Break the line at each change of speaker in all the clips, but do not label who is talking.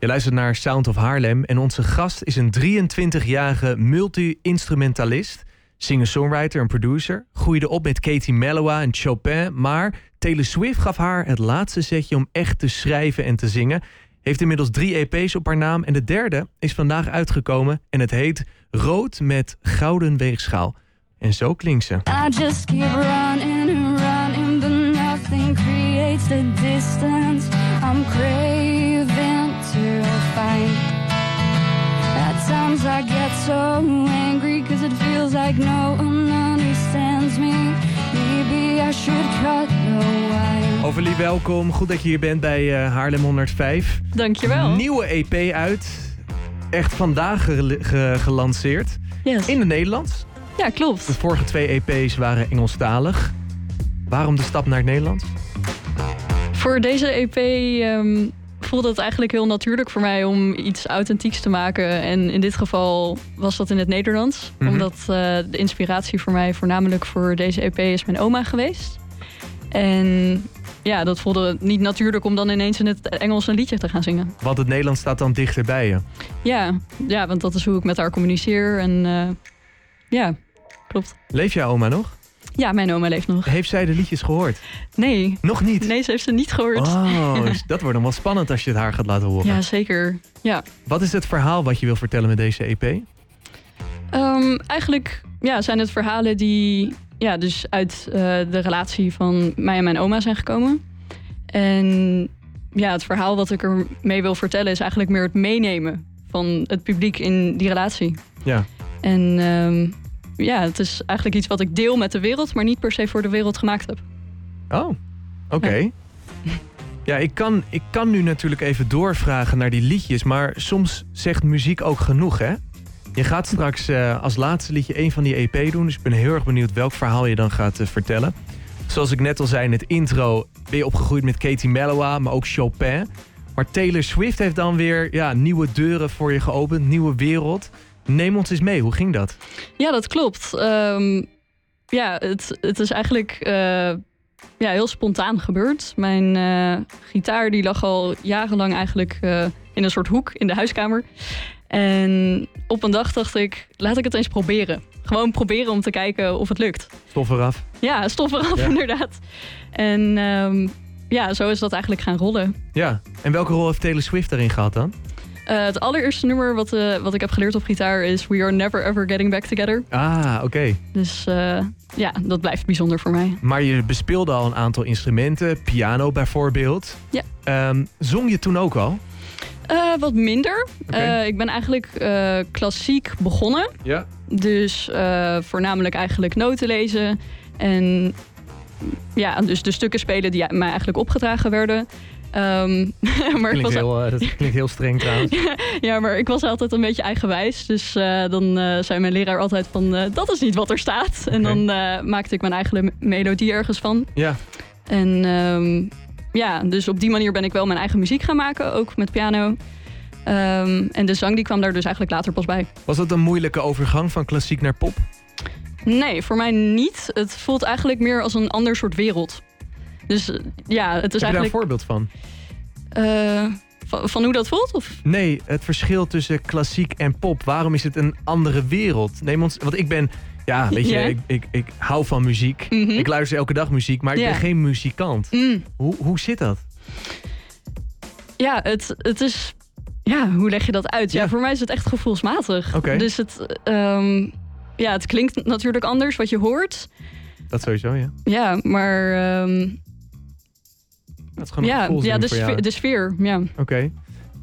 Je luistert naar Sound of Haarlem en onze gast is een 23-jarige multi-instrumentalist, singer-songwriter en producer. Groeide op met Katie Mellowa en Chopin, maar Taylor Swift gaf haar het laatste zetje om echt te schrijven en te zingen. Heeft inmiddels drie EP's op haar naam en de derde is vandaag uitgekomen en het heet Rood met Gouden Weegschaal. En zo klinkt ze.
I just keep running and running, but nothing creates the distance I'm craving to find. At times I get so angry, cause it feels like no one understands me. Maybe I should cut the wire.
Overlie, welkom. Goed dat je hier bent bij eh, Haarlem 105.
Dankjewel.
Nieuwe EP uit. Echt vandaag gel- ge- gelanceerd.
Yes.
In het Nederlands.
Ja,
De
klopt.
vorige twee EP's waren Engelstalig. Waarom de stap naar het Nederlands?
Voor deze EP ehm, voelde het eigenlijk heel natuurlijk voor mij om iets authentieks te maken. En in dit geval was dat in het Nederlands.
Mhm.
Omdat eh, de inspiratie voor mij voornamelijk voor deze EP is mijn oma geweest. En ja, dat voelde niet natuurlijk om dan ineens in het Engels een liedje te gaan zingen.
Want het Nederlands staat dan dichter bij je.
Ja, ja want dat is hoe ik met haar communiceer. En eh, ja, klopt.
Leef jouw oma nog?
Ja, mijn oma leeft nog.
Heeft zij de liedjes gehoord?
Nee,
Nog niet?
nee, ze heeft ze niet gehoord.
Oh, dus dat wordt dan wel spannend als je het haar gaat laten horen.
Ja, zeker. Ja.
Wat is het verhaal wat je wil vertellen met deze E EP?
Ehm, eigenlijk ja, zijn het verhalen die ja, dus uit eh, de relatie van mij en mijn oma zijn gekomen. En ja, het verhaal wat ik ermee wil vertellen is eigenlijk meer het meenemen van het publiek in die relatie.
Ja.
En ehm, ja, het is eigenlijk iets wat ik deel met de wereld, maar niet per se voor de wereld gemaakt heb.
Oh, oké. Ja, ik kan, ik kan nu natuurlijk even doorvragen naar die liedjes, maar soms zegt muziek ook genoeg, hè? Je gaat straks eh, als laatste liedje een van die EP doen, dus ik ben heel erg benieuwd welk verhaal je dan gaat eh, vertellen. Zoals ik net al zei in het intro, ben je opgegroeid met Katie Mellowa, maar ook Chopin. Maar Taylor Swift heeft dan weer ja, nieuwe deuren voor je geopend, nieuwe wereld. Neem ons eens mee, hoe ging dat?
Ja, dat klopt. Ehm, ja, het, het is eigenlijk eh, ja, heel spontaan gebeurd. Mijn eh, gitaar die lag al jarenlang eigenlijk eh, in een soort hoek in de huiskamer. En op een dag dacht ik, laat ik het eens proberen. Gewoon proberen om te kijken of het lukt.
Stof eraf.
Ja, stof eraf
Ja.
inderdaad. En ehm, ja, zo is dat eigenlijk gaan rollen.
Ja, en welke rol heeft Taylor Swift daarin gehad dan?
Eh, het allereerste nummer wat, eh, wat ik heb geleerd op gitaar is We Are Never Ever Getting Back Together.
Ah, oké.
Dus eh, ja, dat blijft bijzonder voor mij.
Maar je bespeelde al een aantal instrumenten, piano bijvoorbeeld.
Ja.
Ehm, zong je toen ook al?
Eh, wat minder.
Oké.
Eh, ik ben eigenlijk eh, klassiek begonnen.
Ja.
Dus eh, voornamelijk eigenlijk noten lezen. En ja, dus de stukken spelen die mij eigenlijk opgedragen werden. Ehm, maar, ik
Klinkt
was,
heel, eh, dat klinkt heel streng trouwens.
ja, maar ik was altijd een beetje eigenwijs. Dus eh, dan eh, zei mijn leraar altijd van, eh, dat is niet wat er staat. En
Oké.
dan eh, maakte ik mijn eigen melodie ergens van.
Ja,
En ehm, ja, dus op die manier ben ik wel mijn eigen muziek gaan maken, ook met piano. Ehm, en de zang die kwam daar dus eigenlijk later pas bij.
was dat een moeilijke overgang van klassiek naar pop?
Nee, voor mij niet. Het voelt eigenlijk meer als een ander soort wereld. Dus eh, ja, het
Heb je daar
is
een
eigenlijk...
voorbeeld van?
eh, van, van hoe dat voelt? Of?
Nee, het verschil tussen klassiek en pop. Waarom is het een andere wereld? Neem ons, want ik ben, ja, weet je,
Ja.
ik, ik, ik hou van muziek.
Mhm.
Ik luister elke dag muziek, maar ik
Ja.
ben geen muzikant.
Mm.
Hoe, hoe zit dat?
Ja, het, het is... Ja, hoe leg je dat uit? Ja,
Ja.
voor mij is het echt gevoelsmatig.
Oké.
Dus het... ehm, ja, het klinkt natuurlijk anders wat je hoort.
Dat sowieso, ja.
Ja, maar... ehm,
Dat is gewoon een
ja,
gevoelsding
ja de,
voor jou.
sfeer, de sfeer, ja.
Oké.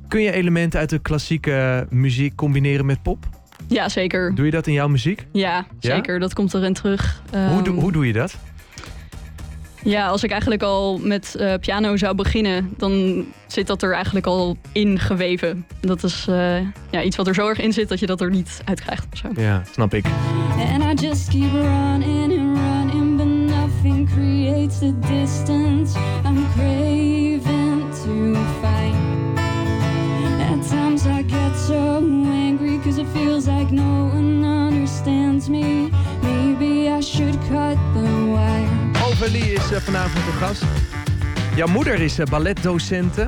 Kun je elementen uit de klassieke muziek combineren met pop?
Ja, zeker.
Doe je dat in jouw muziek?
Ja,
Ja?
zeker. Dat komt erin terug.
hoe,
Ehm,
doe, hoe doe je dat?
Ja, als ik eigenlijk al met eh, piano zou beginnen, dan zit dat er eigenlijk al in geweven. Dat is eh, ja, iets wat er zo erg in zit dat je dat er niet uit krijgt. of Zo.
Ja, snap ik.
And I just keep running and running, but nothing creates the distance I'm craving to find. At times I get so angry, cause it feels like no one understands me. Maybe I should cut the wire.
Overlie is eh, vanavond de gast. Jouw moeder is eh, balletdocente.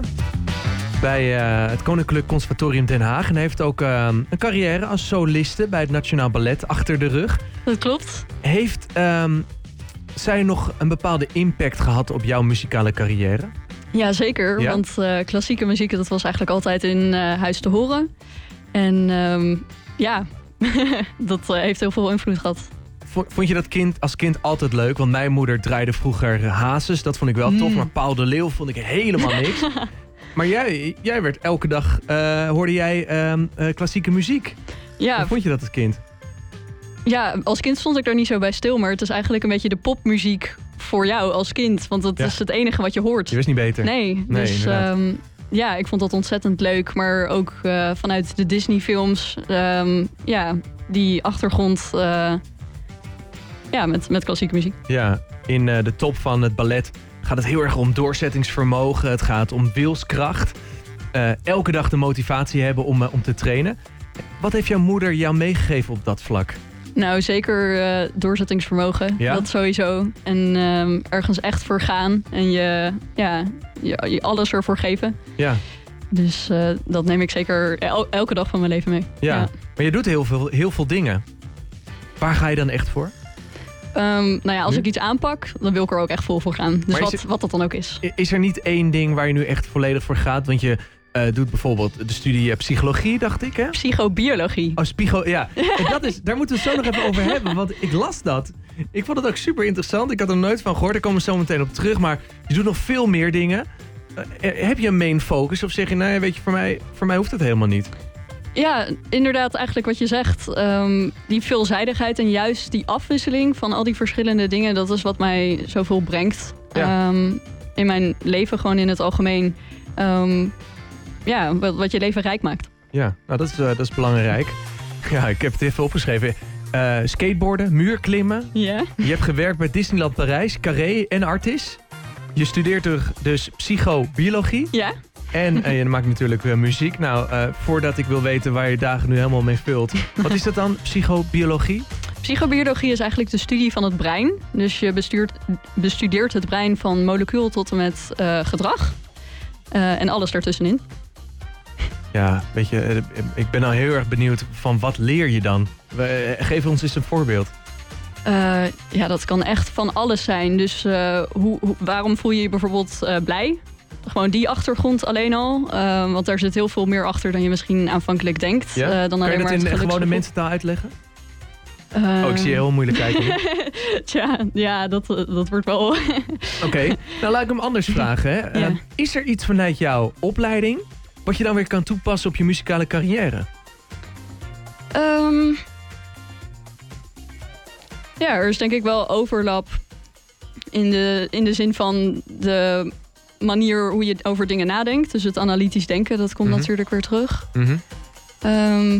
bij eh, het Koninklijk Conservatorium Den Haag. En heeft ook eh, een carrière als soliste bij het Nationaal Ballet achter de rug.
Dat klopt.
Heeft ehm, zij nog een bepaalde impact gehad op jouw muzikale carrière?
Ja, zeker.
Ja?
Want eh, klassieke muziek, dat was eigenlijk altijd in eh, huis te horen. En ehm, ja, dat eh, heeft heel veel invloed gehad.
Vo- Vond je dat kind als kind altijd leuk? Want mijn moeder draaide vroeger Hazes, dat vond ik wel tof.
Mm.
Maar Paul de Leeuw vond ik helemaal niks. maar jij, jij werd elke dag, eh, hoorde jij ehm, eh, klassieke muziek.
Ja,
Hoe vond je dat als kind?
ja, als kind stond ik daar niet zo bij stil, maar het is eigenlijk een beetje de popmuziek voor jou als kind. Want dat
Ja.
is het enige wat je hoort.
Je wist niet beter.
Nee,
Nee,
dus
inderdaad.
ehm, ja, ik vond dat ontzettend leuk. Maar ook eh, vanuit de Disney-films, ehm, ja, die achtergrond eh, ja, met, met klassieke muziek.
Ja, in eh, de top van het ballet gaat het heel erg om doorzettingsvermogen. Het gaat om wilskracht. Eh, elke dag de motivatie hebben om, eh, om te trainen. Wat heeft jouw moeder jou meegegeven op dat vlak?
Nou, zeker eh, doorzettingsvermogen,
Ja?
dat sowieso. En ehm, ergens echt voor gaan en je, ja, je, je alles ervoor geven.
Ja,
Dus eh, dat neem ik zeker el- elke dag van mijn leven mee.
ja.
Ja.
maar je doet heel veel, heel veel dingen. Waar ga je dan echt voor?
Ehm, nou ja, als
Nu?
ik iets aanpak, dan wil ik er ook echt vol voor gaan. Dus
Maar is
wat, wat dat dan ook is.
I- Is er niet één ding waar je nu echt volledig voor gaat? Want je eh, doet bijvoorbeeld de studie eh, psychologie, dacht ik, hè?
Psychobiologie.
Oh, spiegel, ja. En dat is, daar moeten we het zo nog even over hebben, want ik las dat. Ik vond het ook super interessant. Ik had er nooit van gehoord. Daar komen we zo meteen op terug. Maar je doet nog veel meer dingen. Eh, eh, heb je een main focus? Of zeg je, nou ja, weet je, voor mij, voor mij hoeft het helemaal niet.
Ja, inderdaad, eigenlijk wat je zegt. ehm, die veelzijdigheid en juist die afwisseling van al die verschillende dingen, dat is wat mij zoveel brengt.
Ja.
Ehm, in mijn leven, gewoon in het algemeen. Ehm, ja, wat, wat je leven rijk maakt.
Ja, nou, dat is, eh, dat is belangrijk. Ja, ik heb het even opgeschreven. Eh, skateboarden, muurklimmen.
Ja.
Je hebt gewerkt bij Disneyland Parijs, Carré en Artis. Je studeert er dus psychobiologie.
Ja?
En eh, je maakt natuurlijk eh, muziek. Nou, eh, voordat ik wil weten waar je dagen nu helemaal mee vult. Wat is dat dan? Psychobiologie?
Psychobiologie is eigenlijk de studie van het brein. Dus je bestuurt, bestudeert het brein van molecuul tot en met eh, gedrag. Eh, en alles daartussenin.
Ja, weet je, eh, ik ben al heel erg benieuwd van wat leer je dan? We- eh, Geef ons eens een voorbeeld.
Nou, Eh, ja, dat kan echt van alles zijn. Dus eh, hoe, hoe- waarom voel je je bijvoorbeeld eh, blij? Gewoon die achtergrond alleen al. eh, want daar zit heel veel meer achter dan je misschien aanvankelijk denkt.
Ja?
eh, dan
kan
alleen
je dat
maar
in
het
gewone
geluksgevoel.
mensentaal uitleggen?
Eh,
oh, ik zie je heel moeilijk kijken. nu.
Tja, ja, dat, eh, dat wordt wel...
Oké, nou laat ik hem anders vragen. Hè. Eh,
Ja.
is er iets vanuit jouw opleiding wat je dan weer kan toepassen op je muzikale carrière?
Ehm, ja, er is denk ik wel overlap in de, in de zin van de manier hoe je over dingen nadenkt. Dus het analytisch denken, dat komt
Mhm.
natuurlijk weer terug. Ehm,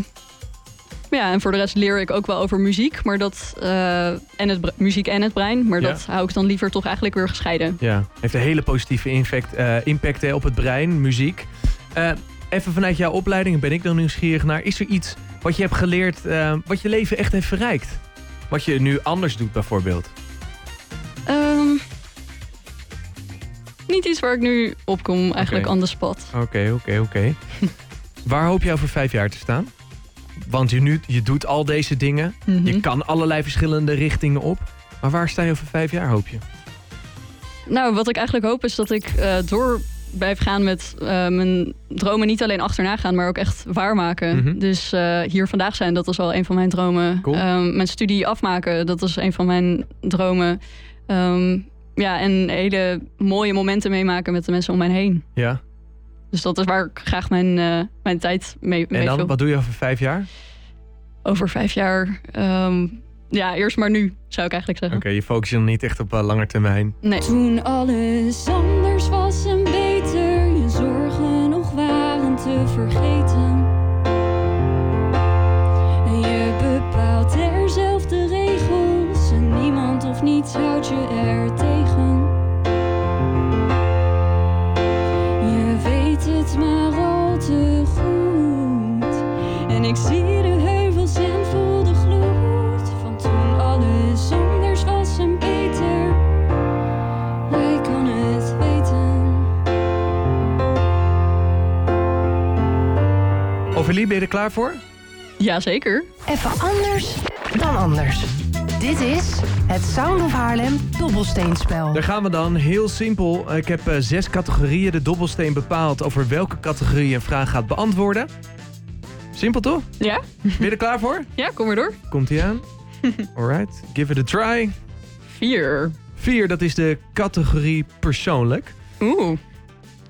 ja, en voor de rest leer ik ook wel over muziek, maar dat, eh, en het bre- muziek en het brein. Maar
Ja.
dat hou ik dan liever toch eigenlijk weer gescheiden.
Ja, heeft een hele positieve impact, eh, impact hè, op het brein, muziek. Eh, even vanuit jouw opleiding ben ik dan nieuwsgierig naar. Is er iets wat je hebt geleerd, eh, wat je leven echt heeft verrijkt? Wat je nu anders doet bijvoorbeeld?
Ehm, niet iets waar ik nu op kom,
Oké.
eigenlijk
Oh,
on the spot.
Oké, oké, oké. Waar hoop je over vijf jaar te staan? Want je, nu, je doet al deze dingen.
Mhm.
Je kan allerlei verschillende richtingen op. Maar waar sta je over vijf jaar, hoop je?
Nou, wat ik eigenlijk hoop is dat ik eh, door blijf gaan met eh, mijn dromen niet alleen achterna gaan, maar ook echt waarmaken.
Mhm.
Dus eh, hier vandaag zijn, dat is al een van mijn dromen.
Cool.
Ehm, mijn studie afmaken, dat is een van mijn dromen. Ehm, ja, en hele mooie momenten meemaken met de mensen om mij heen.
Ja.
Dus dat is waar ik graag mijn, eh, mijn tijd mee, mee
En dan,
vul.
wat doe je over vijf jaar?
Over vijf jaar. ehm, ja, eerst maar nu, zou ik eigenlijk
Oké,
zeggen.
je focust je dan niet echt op eh, lange termijn.
Nee.
Toen alles anders was en beter, je zorgen nog waren te vergeten. En je bepaalt er zelf de regels en niemand of niets houdt je er tegen. Je weet het maar al te goed. En ik zie de heuvels en voel de gloed van toen alles anders was en beter. Jij kan het weten.
Overlie, ben je er klaar voor?
Jazeker.
Even anders dan anders. Dit is het Sound of Haarlem dobbelsteenspel.
Daar gaan we dan. Heel simpel. Ik heb eh, zes categorieën. De dobbelsteen bepaalt over welke categorie je een vraag gaat beantwoorden. Simpel toch?
Ja?
Ben je er klaar voor?
Ja, kom maar door.
Komt ie aan? Alright, give it a try.
Vier.
Vier, dat is de categorie persoonlijk.
Oeh.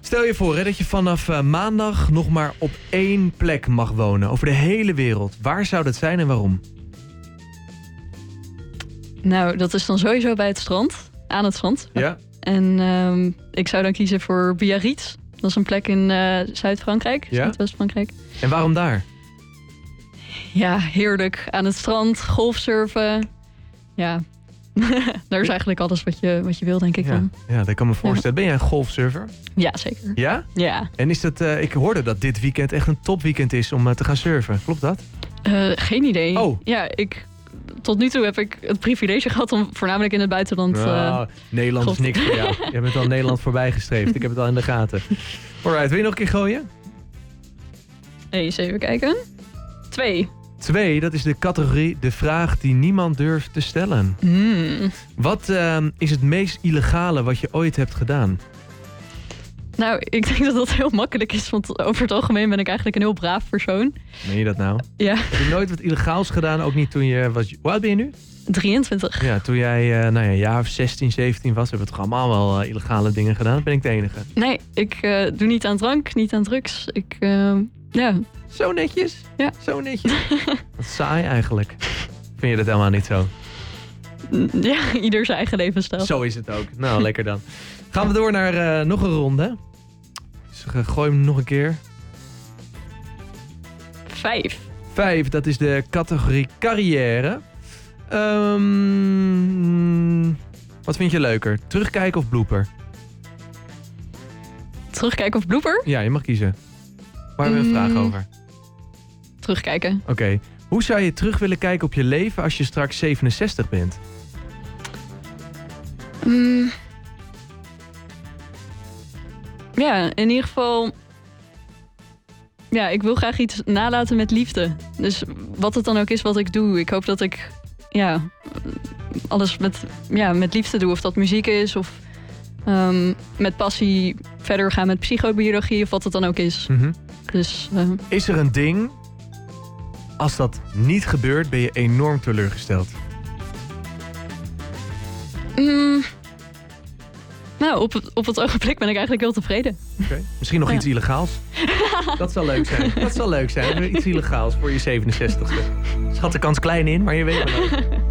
Stel je voor hè, dat je vanaf eh, maandag nog maar op één plek mag wonen. Over de hele wereld. Waar zou dat zijn en waarom?
Nou, dat is dan sowieso bij het strand. Aan het strand.
Ja.
En ehm, ik zou dan kiezen voor Biarritz. Dat is een plek in eh, Zuid-Frankrijk,
Ja.
Zuidwest-Frankrijk.
En waarom daar?
Ja, heerlijk. Aan het strand, golfsurfen. Ja, daar is eigenlijk alles wat je, wat je wil, denk ik
Ja,
dan.
ja, dat kan me voorstellen. Ben jij een golfsurfer?
Ja, zeker.
Ja?
Ja,
En is dat, eh, ik hoorde dat dit weekend echt een topweekend is om eh, te gaan surfen. Klopt dat?
Eh, geen idee.
Oh.
Ja, ik, tot nu toe heb ik het privilege gehad om voornamelijk in het buitenland... eh,
Nou, Nederland
God.
is niks voor jou. Je bent al Nederland voorbij gestreefd. Ik heb het al in de gaten. Alright, wil je nog een keer gooien?
eens eh, E even kijken. Twee.
Twee, dat is de categorie de vraag die niemand durft te stellen.
Hmm.
Wat ehm, is het meest illegale wat je ooit hebt gedaan?
Nou, ik denk dat dat heel makkelijk is, want over het algemeen ben ik eigenlijk een heel braaf persoon.
Meen je dat nou?
Ja,
Heb je nooit wat illegaals gedaan? Ook niet toen je was... Hoe oud ben je nu?
23.
Ja, toen jij eh, nou ja, een jaar of 16, 17 was... hebben we toch allemaal wel eh, illegale dingen gedaan? Of Ben ik de enige?
Nee, ik eh, doe niet aan drank, niet aan drugs. Ik, eh, ja,
Zo netjes.
Ja.
Zo netjes. Wat saai eigenlijk. Vind je dat helemaal niet zo?
mm, ja, ieder zijn eigen levensstijl.
Zo is het ook. Nou, lekker dan. Gaan we door naar eh, nog een ronde. Dus eh, gooi hem nog een keer.
Vijf.
Vijf, dat is de categorie carrière. Ehm, wat vind je leuker? Terugkijken of blooper?
Terugkijken of blooper?
Ja, je mag kiezen. Waar hebben we een
Mm.
vraag over?
Terugkijken.
Oké. Hoe zou je terug willen kijken op je leven als je straks 67 bent?
Mm. Ja, in ieder geval... Ja, ik wil graag iets nalaten met liefde. Dus wat het dan ook is wat ik doe. Ik hoop dat ik ja, alles met, ja, met liefde doe. Of dat muziek is of ehm, met passie verder gaan met psychobiologie of wat het dan ook is. Dus eh,
Mhm. Is er een ding? Als dat niet gebeurt, ben je enorm teleurgesteld.
Mm. Nou, op het, op het ogenblik ben ik eigenlijk heel tevreden.
Misschien nog
Ja.
iets illegaals. Dat zal leuk zijn. Dat zal leuk zijn. Iets illegaals voor je 67ste. Schat de kans klein in, maar je weet wel.